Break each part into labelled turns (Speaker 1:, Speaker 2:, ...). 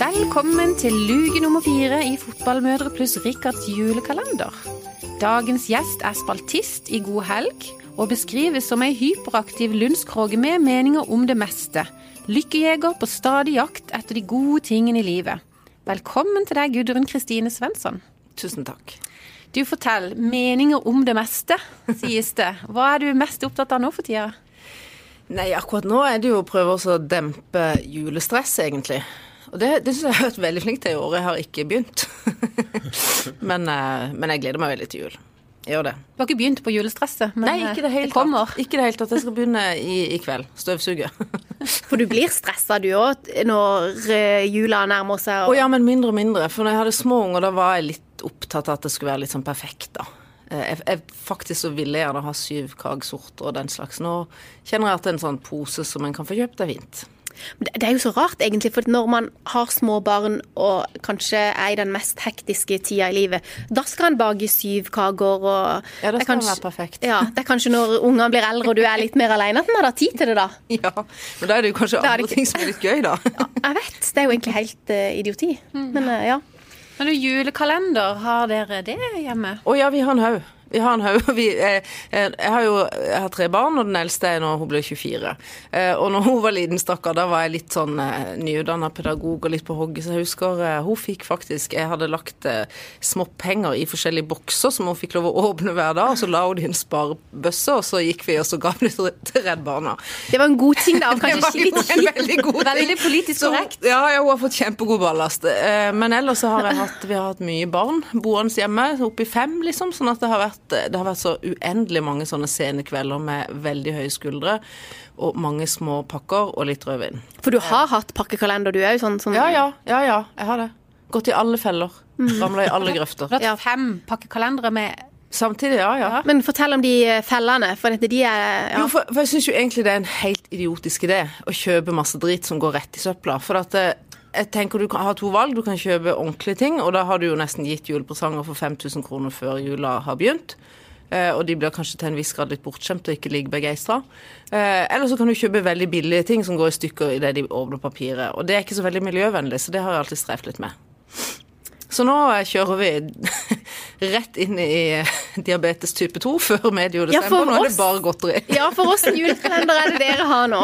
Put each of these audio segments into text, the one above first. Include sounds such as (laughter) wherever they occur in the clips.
Speaker 1: Velkommen til luke nummer fire i Fotballmødre pluss Rikards julekalender. Dagens gjest er spaltist i God helg og beskrives som ei hyperaktiv lundskroge med meninger om det meste. Lykkejeger på stadig jakt etter de gode tingene i livet. Velkommen til deg, Gudrun Kristine Svensson.
Speaker 2: Tusen takk.
Speaker 1: Du fortell, meninger om det meste, sies det. Hva er du mest opptatt av nå for tida?
Speaker 2: Nei, akkurat nå er det jo å prøve også å dempe julestress, egentlig. Og det, det syns jeg jeg har vært veldig flink til i år. Jeg har ikke begynt. (laughs) men, eh, men jeg gleder meg veldig til jul. Jeg gjør det.
Speaker 1: Du har ikke begynt på julestresset, men
Speaker 2: Nei, ikke det
Speaker 1: eh,
Speaker 2: hele
Speaker 1: kommer.
Speaker 2: tatt. Ikke det hele tatt. Jeg skal begynne i, i kveld. Støvsuge.
Speaker 3: (laughs) For du blir stressa du òg når eh, jula nærmer seg.
Speaker 2: Å
Speaker 3: Og
Speaker 2: ja, men mindre og mindre. For når jeg hadde små unger, da var jeg litt opptatt av at det skulle være litt sånn perfekt, da. Eh, Jeg, jeg, faktisk så ville jeg gjerne ha syv kagsorter og den slags. Nå kjenner jeg at en sånn pose som en kan få kjøpt, er fint. (laughs)
Speaker 3: det det er jo så rart, egentlig, for når man har små barn og kanskje er i den mest hektiske tida i livet, da skal en bake syv kaker og
Speaker 2: Ja, da
Speaker 3: det er
Speaker 2: skal en
Speaker 3: kanskje-
Speaker 2: være perfekt.
Speaker 3: Ja, det er kanskje når ungene blir eldre og du er litt mer alene, at en har da tid til det, da.
Speaker 2: Ja, men da er det jo kanskje
Speaker 3: Da er
Speaker 2: andre
Speaker 3: det ikke-
Speaker 2: ting som er litt gøy,
Speaker 3: (laughs)
Speaker 2: da.
Speaker 3: Jeg vet, det er jo egentlig helt eh, idioti. Men eh, ja.
Speaker 1: Men du, julekalender, har dere det hjemme?
Speaker 2: Å ja, vi har en haug. Vi har en haug. (laughs) Vi, eh, eh, jeg har jo jeg har tre barn, og den eldste er når hun blir 24. Eh, og når hun var liten, stakkar, da var jeg litt sånn eh, nyutdanna pedagog og litt på hogget. Så jeg husker eh, hun fikk faktisk Jeg hadde lagt eh, småpenger i forskjellige bokser som hun fikk lov å åpne hver dag, og så la hun det i en sparebøsse, og så gikk vi og så ga vi det til- til Redd Barna.
Speaker 3: Det var en god ting,
Speaker 1: (laughs)
Speaker 3: da. og Kanskje
Speaker 2: Det var
Speaker 3: litt
Speaker 2: jo en
Speaker 3: kjipt.
Speaker 2: veldig god ting.
Speaker 1: Veldig politisk
Speaker 2: Så hun-
Speaker 1: korrekt.
Speaker 2: Ja, ja, hun har fått kjempegod ballast. Eh, Men ellers så har jeg hatt, vi har hatt mye barn boende hjemme, oppi fem, liksom. Sånn at det har vært, det har vært så uendelig mange sånne sene kvelder med veldig høye skuldre. Og mange små pakker og litt rødvin.
Speaker 3: For du har hatt pakkekalender, du òg, sånn som
Speaker 2: Ja, ja, ja, ja, jeg har det. Gått i alle feller. Ramla i alle grøfter.
Speaker 1: Du har hatt fem pakkekalendere med
Speaker 2: Samtidig, ja, ja.
Speaker 3: Men fortell om de eh, fellene, for dette, de er ja.
Speaker 2: Jo, for, for jeg syns jo egentlig det er en helt idiotisk idé å kjøpe masse drit som går rett i søpla. For at eh, jeg tenker du kan ha to valg. Du kan kjøpe ordentlige ting, og da har du jo nesten gitt julepresanger for 5000 kroner før jula har begynt. Eh, og de blir kanskje til en viss grad litt bortskjemt og ikke like begeistra. Eh, eller så kan du kjøpe veldig billige ting som går i stykker idet de åpner papiret. Og det er ikke så veldig miljøvennlig, så det har jeg alltid strevd litt med. Så nå eh, kjører vi (laughs) rett inn i eh, diabetes type 2 før medio
Speaker 3: Ja,
Speaker 2: desember.
Speaker 3: for
Speaker 2: nå er
Speaker 3: oss-
Speaker 2: det bare godteri.
Speaker 3: ja, for åssen julekalender er det dere har nå?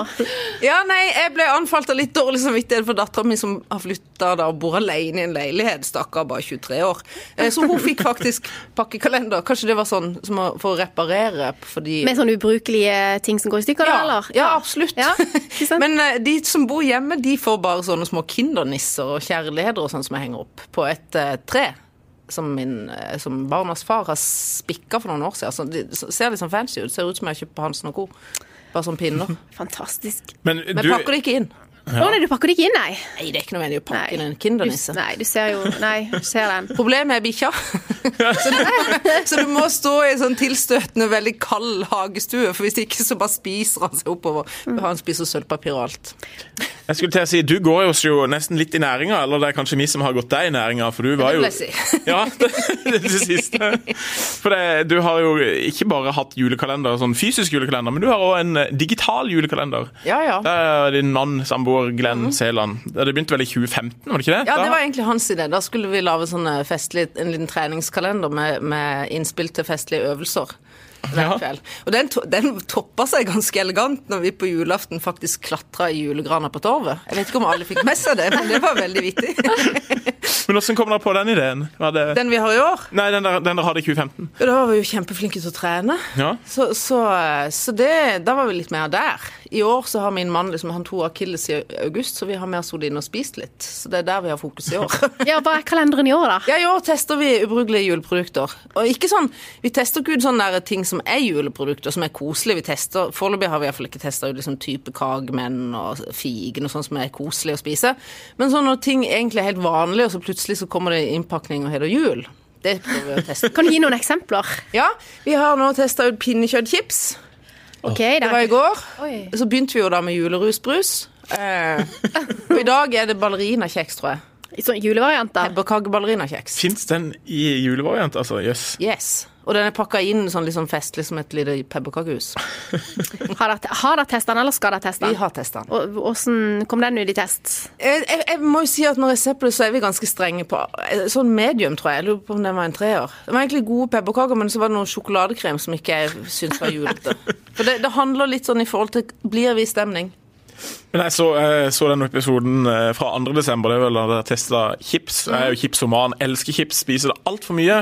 Speaker 2: Ja, nei, jeg ble anfalt av litt dårlig samvittighet for dattera mi som har flytta og bor alene i en leilighet. Stakkar, bare 23 år. Eh, Så hun fikk faktisk pakkekalender. Kanskje det var sånn som å- for å reparere fordi
Speaker 3: Med sånne ubrukelige ting som går i stykker, da,
Speaker 2: ja,
Speaker 3: eller?
Speaker 2: ja, absolutt.
Speaker 3: Ja, ikke sant?
Speaker 2: (laughs) Men eh, de som bor hjemme, de får bare sånne små kindernisser og kjærligheter og sånn som jeg henger opp på et eh, tre. Som, min, eh, som barnas far har spikka for noen år siden. Så de, så ser litt sånn fancy ut. Ser ut som jeg har kjøpt på Hansen og Co. Bare sånn pinner.
Speaker 3: Fantastisk.
Speaker 4: Men
Speaker 2: Men
Speaker 4: du,
Speaker 2: pakker det ikke inn.
Speaker 3: Å nei, du pakker det ikke inn, nei?
Speaker 2: Nei, det er ikke noe mening å
Speaker 3: Nei.
Speaker 2: pakke inn en
Speaker 3: Du,
Speaker 2: kindernisse.
Speaker 3: nei, du ser jo Nei, du ser den.
Speaker 2: Problemet er bikkja. så, du, så du må stå i en sånn tilstøtende, veldig kald hagestue, for hvis ikke så bare spiser han seg oppover. Han spiser sølvpapir og alt.
Speaker 4: jeg skulle til å si, du går jo oss jo nesten litt i næringa, eller det er kanskje vi som har gått deg i næringa, for du var jo
Speaker 2: vil jeg si.
Speaker 4: (laughs) Ja, det, det, det siste. For det, du har jo ikke bare hatt julekalender, sånn fysisk julekalender, men du har òg en eh, digital julekalender.
Speaker 2: Ja, ja. Mhm.
Speaker 4: Det er din mann, samboer Glenn Seland. Det begynte vel i 2015, var det ikke det?
Speaker 2: Ja, det
Speaker 4: Da-
Speaker 2: var egentlig hans idé. Da skulle vi lage sånne festlig, en liten treningskalender med, med innspill til festlige øvelser. Hver
Speaker 4: Ja.
Speaker 2: kveld. Og den, to, den toppa seg ganske elegant når vi på julaften faktisk klatra i julegrana på torvet. Jeg vet ikke om alle fikk med seg det, men det var veldig vittig.
Speaker 4: (laughs) Men hvordan kom dere på den ideen? Var det...
Speaker 2: Den vi har i år.
Speaker 4: Nei, den der, den der hadde i 2015.
Speaker 2: Ja, Da var vi jo kjempeflinke til å trene.
Speaker 4: Ja.
Speaker 2: Så, så, så det, da var vi litt mer der. I år så har min mann liksom, han to akilles i august, så vi har mer sittet inne og spist litt. Så det er der vi har fokus i år.
Speaker 3: Ja, hva er kalenderen i år, da?
Speaker 2: ja, I år tester vi ubrukelige juleprodukter. Og ikke sånn, Vi tester ikke ut sånne der ting som er juleprodukter, som er koselige. Vi tester, Foreløpig har vi iallfall ikke testa ut liksom, type kagemenn og figen og sånn som er koselig å spise. Men sånn når ting egentlig er helt vanlig, og så plutselig så kommer det i innpakning og heter jul. Det prøver vi å teste.
Speaker 3: Kan du gi noen eksempler?
Speaker 2: Ja, vi har nå testa ut pinnekjøttchips.
Speaker 3: OK, det
Speaker 2: Det var i
Speaker 3: er
Speaker 2: går.
Speaker 1: Oi.
Speaker 2: Så begynte vi jo da med julerusbrus. Eh, og i dag er det ballerinakjeks, tror jeg.
Speaker 3: Sånn julevarianter.
Speaker 2: Pepperkakeballerina-kjeks.
Speaker 4: Fins den i julevariant? Altså, jøss.
Speaker 2: Yes. Og den er pakka inn sånn litt sånn festlig som et lite pepperkakehus.
Speaker 3: Har dere har dere testet den, eller skal dere teste
Speaker 2: Vi
Speaker 3: den?
Speaker 2: har testa den.
Speaker 3: Og- Hvordan kom den ut i test?
Speaker 2: Jeg, jeg, jeg må jo si at når jeg ser på det, så er vi ganske strenge på Sånn medium, tror jeg. Jeg lurer på om den var en treer. Det var egentlig gode pepperkaker, men så var det noe sjokoladekrem som ikke jeg syns var julete. For det, det handler litt sånn i forhold til Blir vi i stemning?
Speaker 4: Men jeg så, jeg så den episoden eh, fra 2. desember, det er vel da dere testa chips. Jeg er jo chipsoman, elsker chips, spiser det altfor mye.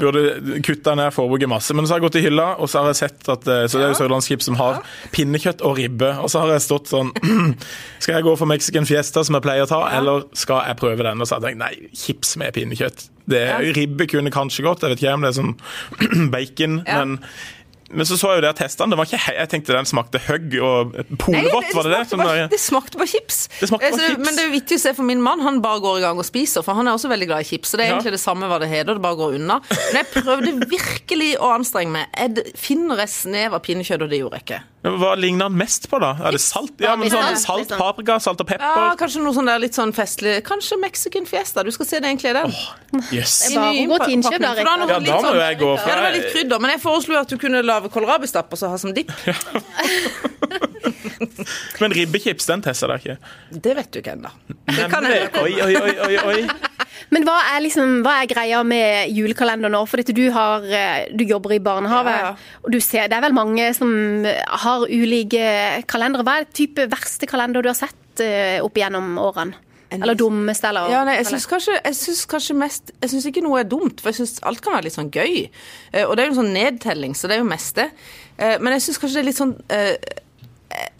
Speaker 4: Burde kutta ned forbruket masse. Men så har jeg gått i hylla, og så har jeg sett at eh, Så det er jo sørlandschips som har pinnekjøtt og ribbe. Og så har jeg stått sånn (clears throat) Skal jeg gå for Mexican Fiesta, som jeg pleier å ta, eller skal jeg prøve den? Og så har jeg tenkt nei, chips med pinnekjøtt. Det, Ribbe kunne kanskje godt, jeg vet ikke om det er sånn (clears throat) bacon,
Speaker 2: Ja.
Speaker 4: men men så så jeg jo der testene. Den var ikke, he- jeg tenkte den smakte hugg og
Speaker 2: Nei,
Speaker 4: polvott, var det det?
Speaker 2: smakte
Speaker 4: Sånn
Speaker 2: bare,
Speaker 4: der-
Speaker 2: det smakte bare chips.
Speaker 4: Det smakte bare
Speaker 2: Eh, så
Speaker 4: chips.
Speaker 2: Men det er jo vittig å se for min mann, han bare går i gang og spiser, for han er også veldig glad i chips. Så det er
Speaker 4: Ja.
Speaker 2: egentlig det samme hva det heter, det bare går unna. Men jeg prøvde virkelig å anstrenge meg. Jeg d- finner jeg snev av pinnekjøtt, og det gjorde jeg ikke.
Speaker 4: Hva ligner den mest på, da? Er det salt? Ja, men
Speaker 3: Litt
Speaker 4: sånn
Speaker 3: salt,
Speaker 4: Salt,
Speaker 3: liksom.
Speaker 4: paprika, salt og
Speaker 2: Ja,
Speaker 4: pepper?
Speaker 2: kanskje noe sånn der litt sånn festlig Kanskje Mexican fiesta. Du skal se det egentlig i den.
Speaker 4: Jøss.
Speaker 3: Jeg bare
Speaker 2: Ny
Speaker 3: gå til innkjøp,
Speaker 2: innpakning,
Speaker 3: da,
Speaker 2: for har noe
Speaker 4: Ja,
Speaker 2: litt
Speaker 4: da må
Speaker 2: sånn-
Speaker 4: jo jeg gå for
Speaker 2: Ja, det var litt krydder, men jeg foreslo jo at du kunne lage kålrabistapp og så ha som dipp.
Speaker 4: Men ribbechips, den tester jeg ikke.
Speaker 2: Det vet du ikke ennå. Det kan
Speaker 4: Nemlig.
Speaker 2: jeg
Speaker 4: Oi, oi, oi, oi, oi.
Speaker 3: Men hva er, liksom, hva er greia med julekalender nå? For du, har, eh, du jobber i barnehage,
Speaker 2: Ja, ja.
Speaker 3: og du ser, det er vel mange som eh, har ulike kalendere. Hva er type verste kalender du har sett eh, opp gjennom årene? Eller dummeste, eller
Speaker 2: Ja, nei, jeg syns kanskje, jeg synes kanskje mest Jeg syns ikke noe er dumt, for jeg syns alt kan være litt sånn gøy. Eh, og det er jo en sånn nedtelling, så det er jo mest det. Eh, men jeg syns kanskje det er litt sånn eh,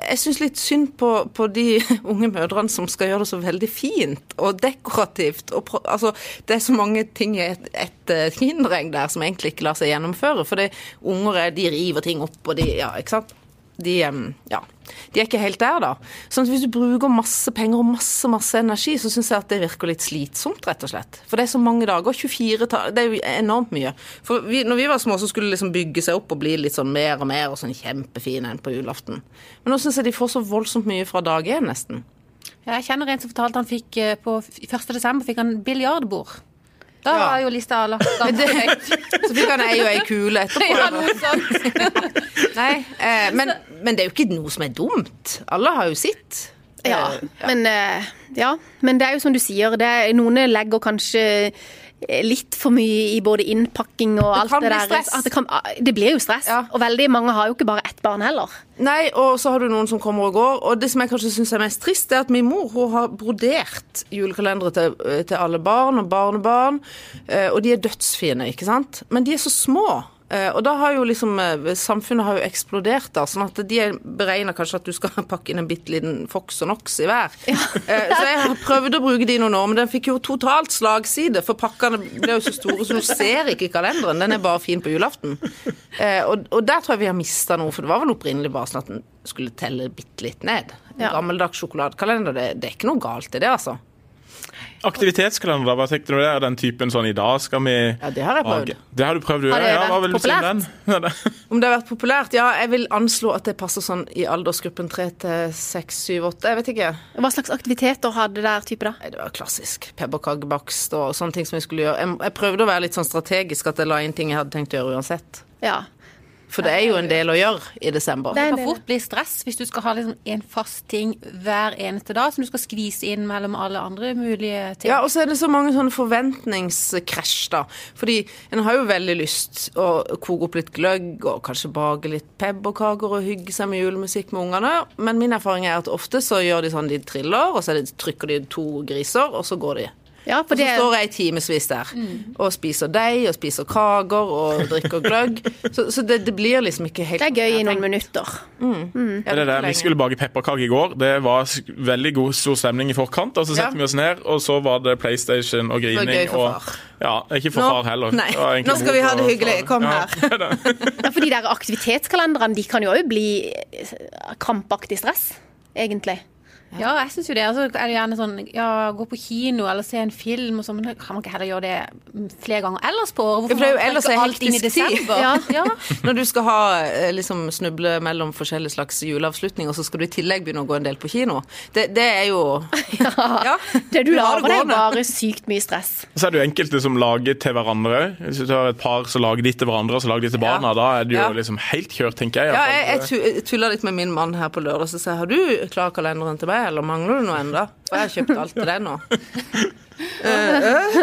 Speaker 2: jeg syns litt synd på, på de (laughs) unge mødrene som skal gjøre det så veldig fint og dekorativt. Og pro, altså, det er så mange ting i et, et eh, kinderegg der som egentlig ikke lar seg gjennomføre. For det, unger er, de river ting opp, og de Ja, ikke sant? De, em, ja, de er ikke helt der, da. Sånn at Hvis du bruker masse penger og masse masse energi, så syns jeg at det virker litt slitsomt, rett og slett. For det er så mange dager. 24 ta Det er jo enormt mye. For vi, når vi var små, så skulle det liksom bygge seg opp og bli litt sånn mer og mer og sånn kjempefin en på julaften. Men nå syns jeg de får så voldsomt mye fra dag én, nesten.
Speaker 1: Ja, Jeg kjenner en som fortalte han fikk eh, på f- 1. desember fikk han biljardbord. Da
Speaker 2: Ja.
Speaker 1: var jo lista
Speaker 2: (laughs)
Speaker 1: lagt ganske høyt.
Speaker 2: Så fikk han ei og ei
Speaker 1: (laughs)
Speaker 2: kule
Speaker 1: Ja,
Speaker 2: etterpå.
Speaker 1: noe sånt.
Speaker 2: Nei, eh, men, men det er jo ikke noe som er dumt. Alle har jo sitt.
Speaker 3: Ja, men, eh, ja, men det er jo som du sier, det er, noen legger kanskje eh, litt for mye i både innpakking og alt
Speaker 2: kan
Speaker 3: det
Speaker 2: bli
Speaker 3: der.
Speaker 2: stress.
Speaker 3: At det, kan, ah, det blir jo stress,
Speaker 2: Ja.
Speaker 3: og veldig mange har jo ikke bare ett barn heller.
Speaker 2: Nei, og så har du noen som kommer og går. Og det som jeg kanskje syns er mest trist, det er at min mor hun har brodert julekalendere til, eh, til alle barn og barnebarn. eh, Og de er dødsfine, ikke sant? Men de er så små. eh, Og da har jo liksom eh, Samfunnet har jo eksplodert, da. Sånn at de er beregner kanskje at du skal (laughs) pakke inn en bitte liten Fox og Nox i hver. Eh, Så jeg har prøvd å bruke de i noen år, men den fikk jo totalt slagside. For pakkene ble jo så store, så du ser ikke i kalenderen. Den er bare fin på julaften. Eh, og, og der tror jeg vi har mista noe, for det var vel opprinnelig bare sånn at den skulle telle bitte litt ned. En
Speaker 3: Ja.
Speaker 2: Gammeldags sjokoladekalender, det, det er ikke noe galt i det, altså.
Speaker 4: Aktivitetskalender, da, hva tenkte du der? Den typen sånn i dag skal vi
Speaker 2: Ja, det har jeg prøvd.
Speaker 4: Lage- Det har du prøvd, du?
Speaker 3: Har det
Speaker 4: ja, hva
Speaker 3: vært
Speaker 4: vil du si om
Speaker 3: populært?
Speaker 4: den? (laughs)
Speaker 2: Om det har vært populært? Ja, jeg vil anslå at det passer sånn i aldersgruppen 3 til 6, 7, 8, jeg vet ikke.
Speaker 3: Hva slags aktiviteter hadde der type da?
Speaker 2: Nei, det var klassisk. Pepperkakebakst og sånne ting som jeg skulle gjøre. Jeg, jeg prøvde å være litt sånn strategisk at jeg la inn ting jeg hadde tenkt å gjøre uansett.
Speaker 3: Ja.
Speaker 2: For det er jo en del å gjøre i desember.
Speaker 3: Det
Speaker 1: Det
Speaker 3: er en
Speaker 1: kan
Speaker 3: del.
Speaker 1: fort bli stress hvis du skal ha liksom en fast ting hver eneste dag som du skal skvise inn mellom alle andre mulige ting.
Speaker 2: Ja, og så er det så mange sånne forventningskrasj, da. Fordi en har jo veldig lyst å koke opp litt gløgg og kanskje bake litt pepperkaker og hygge seg med julemusikk med ungene. Men min erfaring er at ofte så gjør de sånn de triller, og så er det, trykker de to griser, og så går de.
Speaker 3: Ja, for
Speaker 2: Og så
Speaker 3: det, Mm.
Speaker 2: står jeg i timevis der og spiser deig og spiser kaker og drikker
Speaker 3: (laughs)
Speaker 2: gløgg. Så, så det, det blir liksom ikke helt
Speaker 3: det er gøy i noen minutter.
Speaker 2: Ja,
Speaker 4: Det er det.
Speaker 2: ikke
Speaker 4: Vi
Speaker 2: lenge.
Speaker 4: skulle bake pepperkake i går. Det var sk- veldig god, stor stemning i forkant. Og så
Speaker 2: Ja.
Speaker 4: setter vi oss ned, og så var det PlayStation og grining.
Speaker 2: gøy for
Speaker 4: og-
Speaker 2: far.
Speaker 4: Ja, ikke for
Speaker 2: Nå-
Speaker 4: far heller.
Speaker 2: Nei.
Speaker 4: Det var egentlig
Speaker 2: Nå skal vi
Speaker 4: mor
Speaker 2: ha det
Speaker 4: og
Speaker 2: hyggelig.
Speaker 4: far.
Speaker 2: Kom
Speaker 4: Ja.
Speaker 2: her.
Speaker 4: (laughs)
Speaker 3: Ja, for de der aktivitetskalenderne, de kan jo også bli eh, krampaktig stress, egentlig.
Speaker 1: Ja, jeg syns jo det. Altså, er det gjerne sånn ja, gå på kino eller se en film og sånn, men kan man ikke heller gjøre det flere ganger ellers på året?
Speaker 2: Ja, for det er
Speaker 1: må
Speaker 2: jo
Speaker 1: man
Speaker 2: ellers
Speaker 1: trekke
Speaker 2: er
Speaker 1: alt inn i
Speaker 2: hektisk tid. (laughs)
Speaker 1: desember?
Speaker 3: Ja.
Speaker 1: Ja.
Speaker 2: Når du skal ha, eh, liksom, snuble mellom forskjellige slags juleavslutninger, så skal du i tillegg begynne å gå en del på kino. Det, det er jo
Speaker 3: (laughs)
Speaker 2: Ja.
Speaker 3: Det du
Speaker 2: har
Speaker 3: lager, det er
Speaker 2: gående.
Speaker 3: bare sykt mye stress.
Speaker 2: (laughs)
Speaker 4: Så er det jo enkelte som lager til hverandre òg. Hvis du har et par som lager de til hverandre, og så lager de til
Speaker 2: Ja.
Speaker 4: barna. Da er det jo
Speaker 2: Ja.
Speaker 4: liksom helt kjørt, tenker jeg. i
Speaker 2: Ja,
Speaker 4: hvert fall.
Speaker 2: jeg, jeg tu- jeg tulla litt med min mann her på lørdag, så sa jeg har du klar kalenderen til meg, eller mangler du noe enda? For jeg har kjøpt alt til
Speaker 3: (laughs)
Speaker 2: deg nå.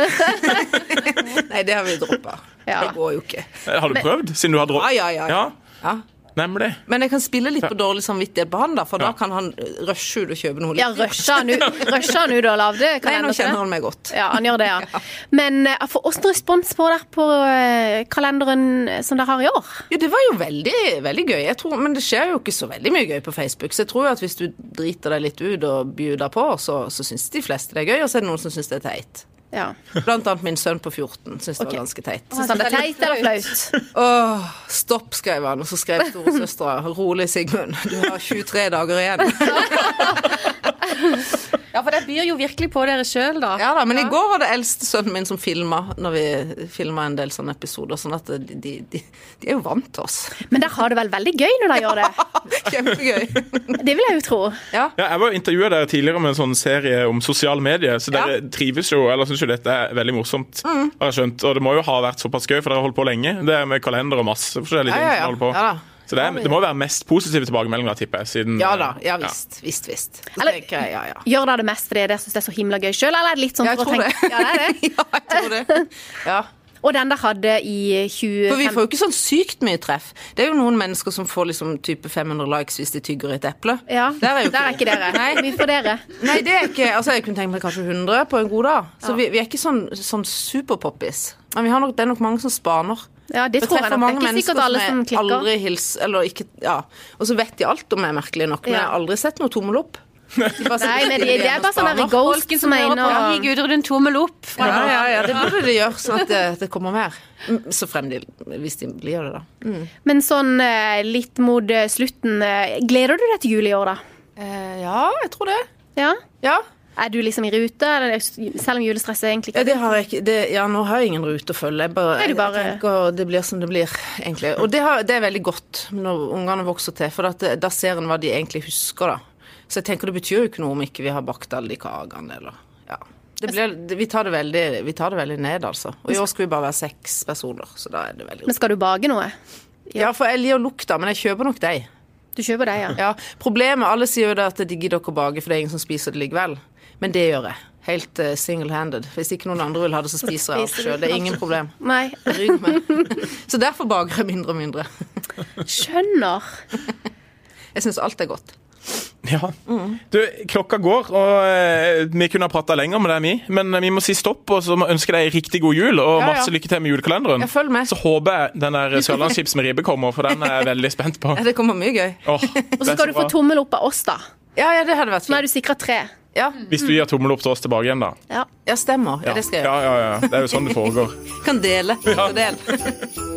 Speaker 2: Eh, eh. Nei, det har vi droppa.
Speaker 3: Ja.
Speaker 2: Det går jo ikke.
Speaker 4: Eh, Har du prøvd, siden du har drå...
Speaker 2: Ja, ja, ja, ja. Ja.
Speaker 4: nemlig.
Speaker 2: Men jeg kan spille litt på dårlig samvittighet på han, da, for
Speaker 4: Ja.
Speaker 2: da kan han eh, rushe ut og kjøpe noe.
Speaker 3: Ja,
Speaker 2: litt.
Speaker 3: rusher han ut rusher han ut og lagde
Speaker 2: Nei, nå
Speaker 3: kalender til
Speaker 2: kjenner
Speaker 3: det?
Speaker 2: han meg godt.
Speaker 3: Ja, han gjør det,
Speaker 2: (laughs)
Speaker 3: ja. Men eh, for oss noen respons på der på eh, kalenderen som dere har i år?
Speaker 2: Jo, det var jo veldig, veldig gøy. Jeg tror, men det skjer jo ikke så veldig mye gøy på Facebook. Så jeg tror jo at hvis du driter deg litt ut og bjuder på, så, så syns de fleste det er gøy, og så er det noen som syns det er teit.
Speaker 3: Ja.
Speaker 2: Blant annet min sønn på 14 syns det var
Speaker 3: Ok.
Speaker 2: ganske teit.
Speaker 3: Syns han det er teit eller flaut?
Speaker 2: Åh, stopp, skrev han, og så skrev storesøstera rolig, Sigmund, du har 23 dager igjen.
Speaker 1: ja, for det byr jo virkelig på dere sjøl, da.
Speaker 2: Ja da, Men i går var det eldste sønnen min som filma, når vi filma en del sånne episoder, sånn at de, de, de, de er jo vant til oss.
Speaker 3: (laughs)
Speaker 2: (laughs)
Speaker 3: Men dere har det vel veldig gøy når dere gjør det?
Speaker 2: Kjempegøy.
Speaker 3: Det vil jeg jo tro.
Speaker 2: Ja.
Speaker 4: Ja, jeg var intervjua dere tidligere med en sånn serie om sosiale medier, så dere trives jo, eller syns jo dette er veldig morsomt,
Speaker 2: Mm.
Speaker 4: har jeg skjønt. Og det må jo ha vært såpass gøy, for dere har holdt på lenge. Det er med kalender og masse forskjellige
Speaker 2: Ja, ja,
Speaker 4: ting som
Speaker 2: ja.
Speaker 4: dere holder på.
Speaker 2: Ja da.
Speaker 4: Så det, er, det må jo være mest positive tilbakemeldinger, tipper jeg. Siden,
Speaker 2: ja da. Ja
Speaker 4: ja.
Speaker 2: visst. Visst, visst. Så
Speaker 3: Eller-
Speaker 2: tenker jeg, ja, ja.
Speaker 3: Gjør dere det mest fordi dere syns det er så himla gøy sjøl, eller er det litt sånn
Speaker 2: Ja, jeg
Speaker 3: for å
Speaker 2: tror det.
Speaker 3: tenke Ja, det er det.
Speaker 2: (laughs) Ja, jeg tror det. Ja.
Speaker 3: Og den dere hadde i 20...
Speaker 2: For vi får jo ikke sånn sykt mye treff. Det er jo noen mennesker som får liksom type 500 likes hvis de tygger et eple.
Speaker 3: Ja,
Speaker 2: Der er jo ikke,
Speaker 3: ikke dere.
Speaker 2: Nei.
Speaker 3: Vi får dere.
Speaker 2: Nei, det er ikke Altså, jeg kunne tenkt meg kanskje 100 på en god dag. Så vi, vi er ikke sånn, sånn superpoppis. Men vi har nok, det er nok mange som spaner.
Speaker 3: Ja, det
Speaker 2: Vi
Speaker 3: tror jeg
Speaker 2: treffer
Speaker 3: nok. Det er ikke sikkert alle som
Speaker 2: jeg
Speaker 3: klikker.
Speaker 2: aldri hilser Eller ikke Ja. Og så vet de alt om meg, merkelig nok, men
Speaker 3: Ja.
Speaker 2: jeg har aldri sett noe tommel opp.
Speaker 3: Nei, men det, det er bare sånn der ghost som er inne
Speaker 1: Ja, Gi
Speaker 3: og
Speaker 1: Gudrun tommel opp.
Speaker 2: ja, ja, ja, det burde de gjøre, sånn at det, det kommer mer. Mm, Så frem de, hvis de blir det, da. Mm.
Speaker 3: Men sånn eh, litt mot eh, slutten eh, Gleder du deg til jul i år, da?
Speaker 2: Eh, ja, jeg tror det.
Speaker 3: Ja?
Speaker 2: Ja.
Speaker 3: Er du liksom i rute, eller, selv om julestresset egentlig
Speaker 2: Ja,
Speaker 3: ikke
Speaker 2: det har jeg ikke det, Ja, nå har jeg ingen rute å følge. Jeg bare,
Speaker 3: Nei, du
Speaker 2: jeg,
Speaker 3: bare-
Speaker 2: tenker det blir som det blir, egentlig. Og det, har, det er veldig godt når ungene vokser til, for at, det- da ser en hva de egentlig husker, da. Så jeg tenker det betyr jo ikke noe om ikke vi har bakt alle de kakene, eller Ja. Det blir, det, vi, tar det veldig, vi tar det veldig ned, altså. Og i år skal vi bare være seks personer, så da er det veldig
Speaker 3: Men skal du bake noe?
Speaker 2: Ja, for jeg liker lukta, men jeg kjøper nok deg.
Speaker 3: Du kjøper det, ja.
Speaker 2: Ja, problemet, Alle sier jo det at de gidder ikke å bake, for det er ingen som spiser det likevel. Men det gjør jeg. Helt eh, single-handed. Hvis ikke noen andre vil ha det, så spiser jeg alt
Speaker 3: Spiser du
Speaker 2: sjøl. Det er ingen problem.
Speaker 3: Nei,
Speaker 2: Rygg meg. Så derfor baker jeg mindre og mindre.
Speaker 3: skjønner.
Speaker 2: Jeg syns alt er godt.
Speaker 4: Ja. Du, klokka går, og eh, vi kunne ha prata lenger med deg, mi, men eh, vi må si stopp, og så må jeg ønske deg en riktig god jul, og
Speaker 2: Ja, ja.
Speaker 4: masse lykke til med julekalenderen.
Speaker 2: Ja, følg med.
Speaker 4: Så håper jeg
Speaker 2: (laughs)
Speaker 4: den der sørlandschips med ribbe kommer, for den er jeg veldig spent på.
Speaker 2: Ja, Det kommer mye gøy.
Speaker 4: Åh,
Speaker 3: Og så skal du få tommel opp av oss, da.
Speaker 2: Ja, ja, det hadde vært
Speaker 3: Nå er
Speaker 2: fint.
Speaker 3: du sikra tre.
Speaker 2: Ja,
Speaker 4: Hvis du gir tommel opp til oss tilbake igjen, da.
Speaker 3: Ja.
Speaker 2: ja stemmer. Ja, det skal jeg
Speaker 4: ja,
Speaker 2: gjøre.
Speaker 4: ja, ja. Det er jo sånn det foregår.
Speaker 2: Kan dele. Kan dele.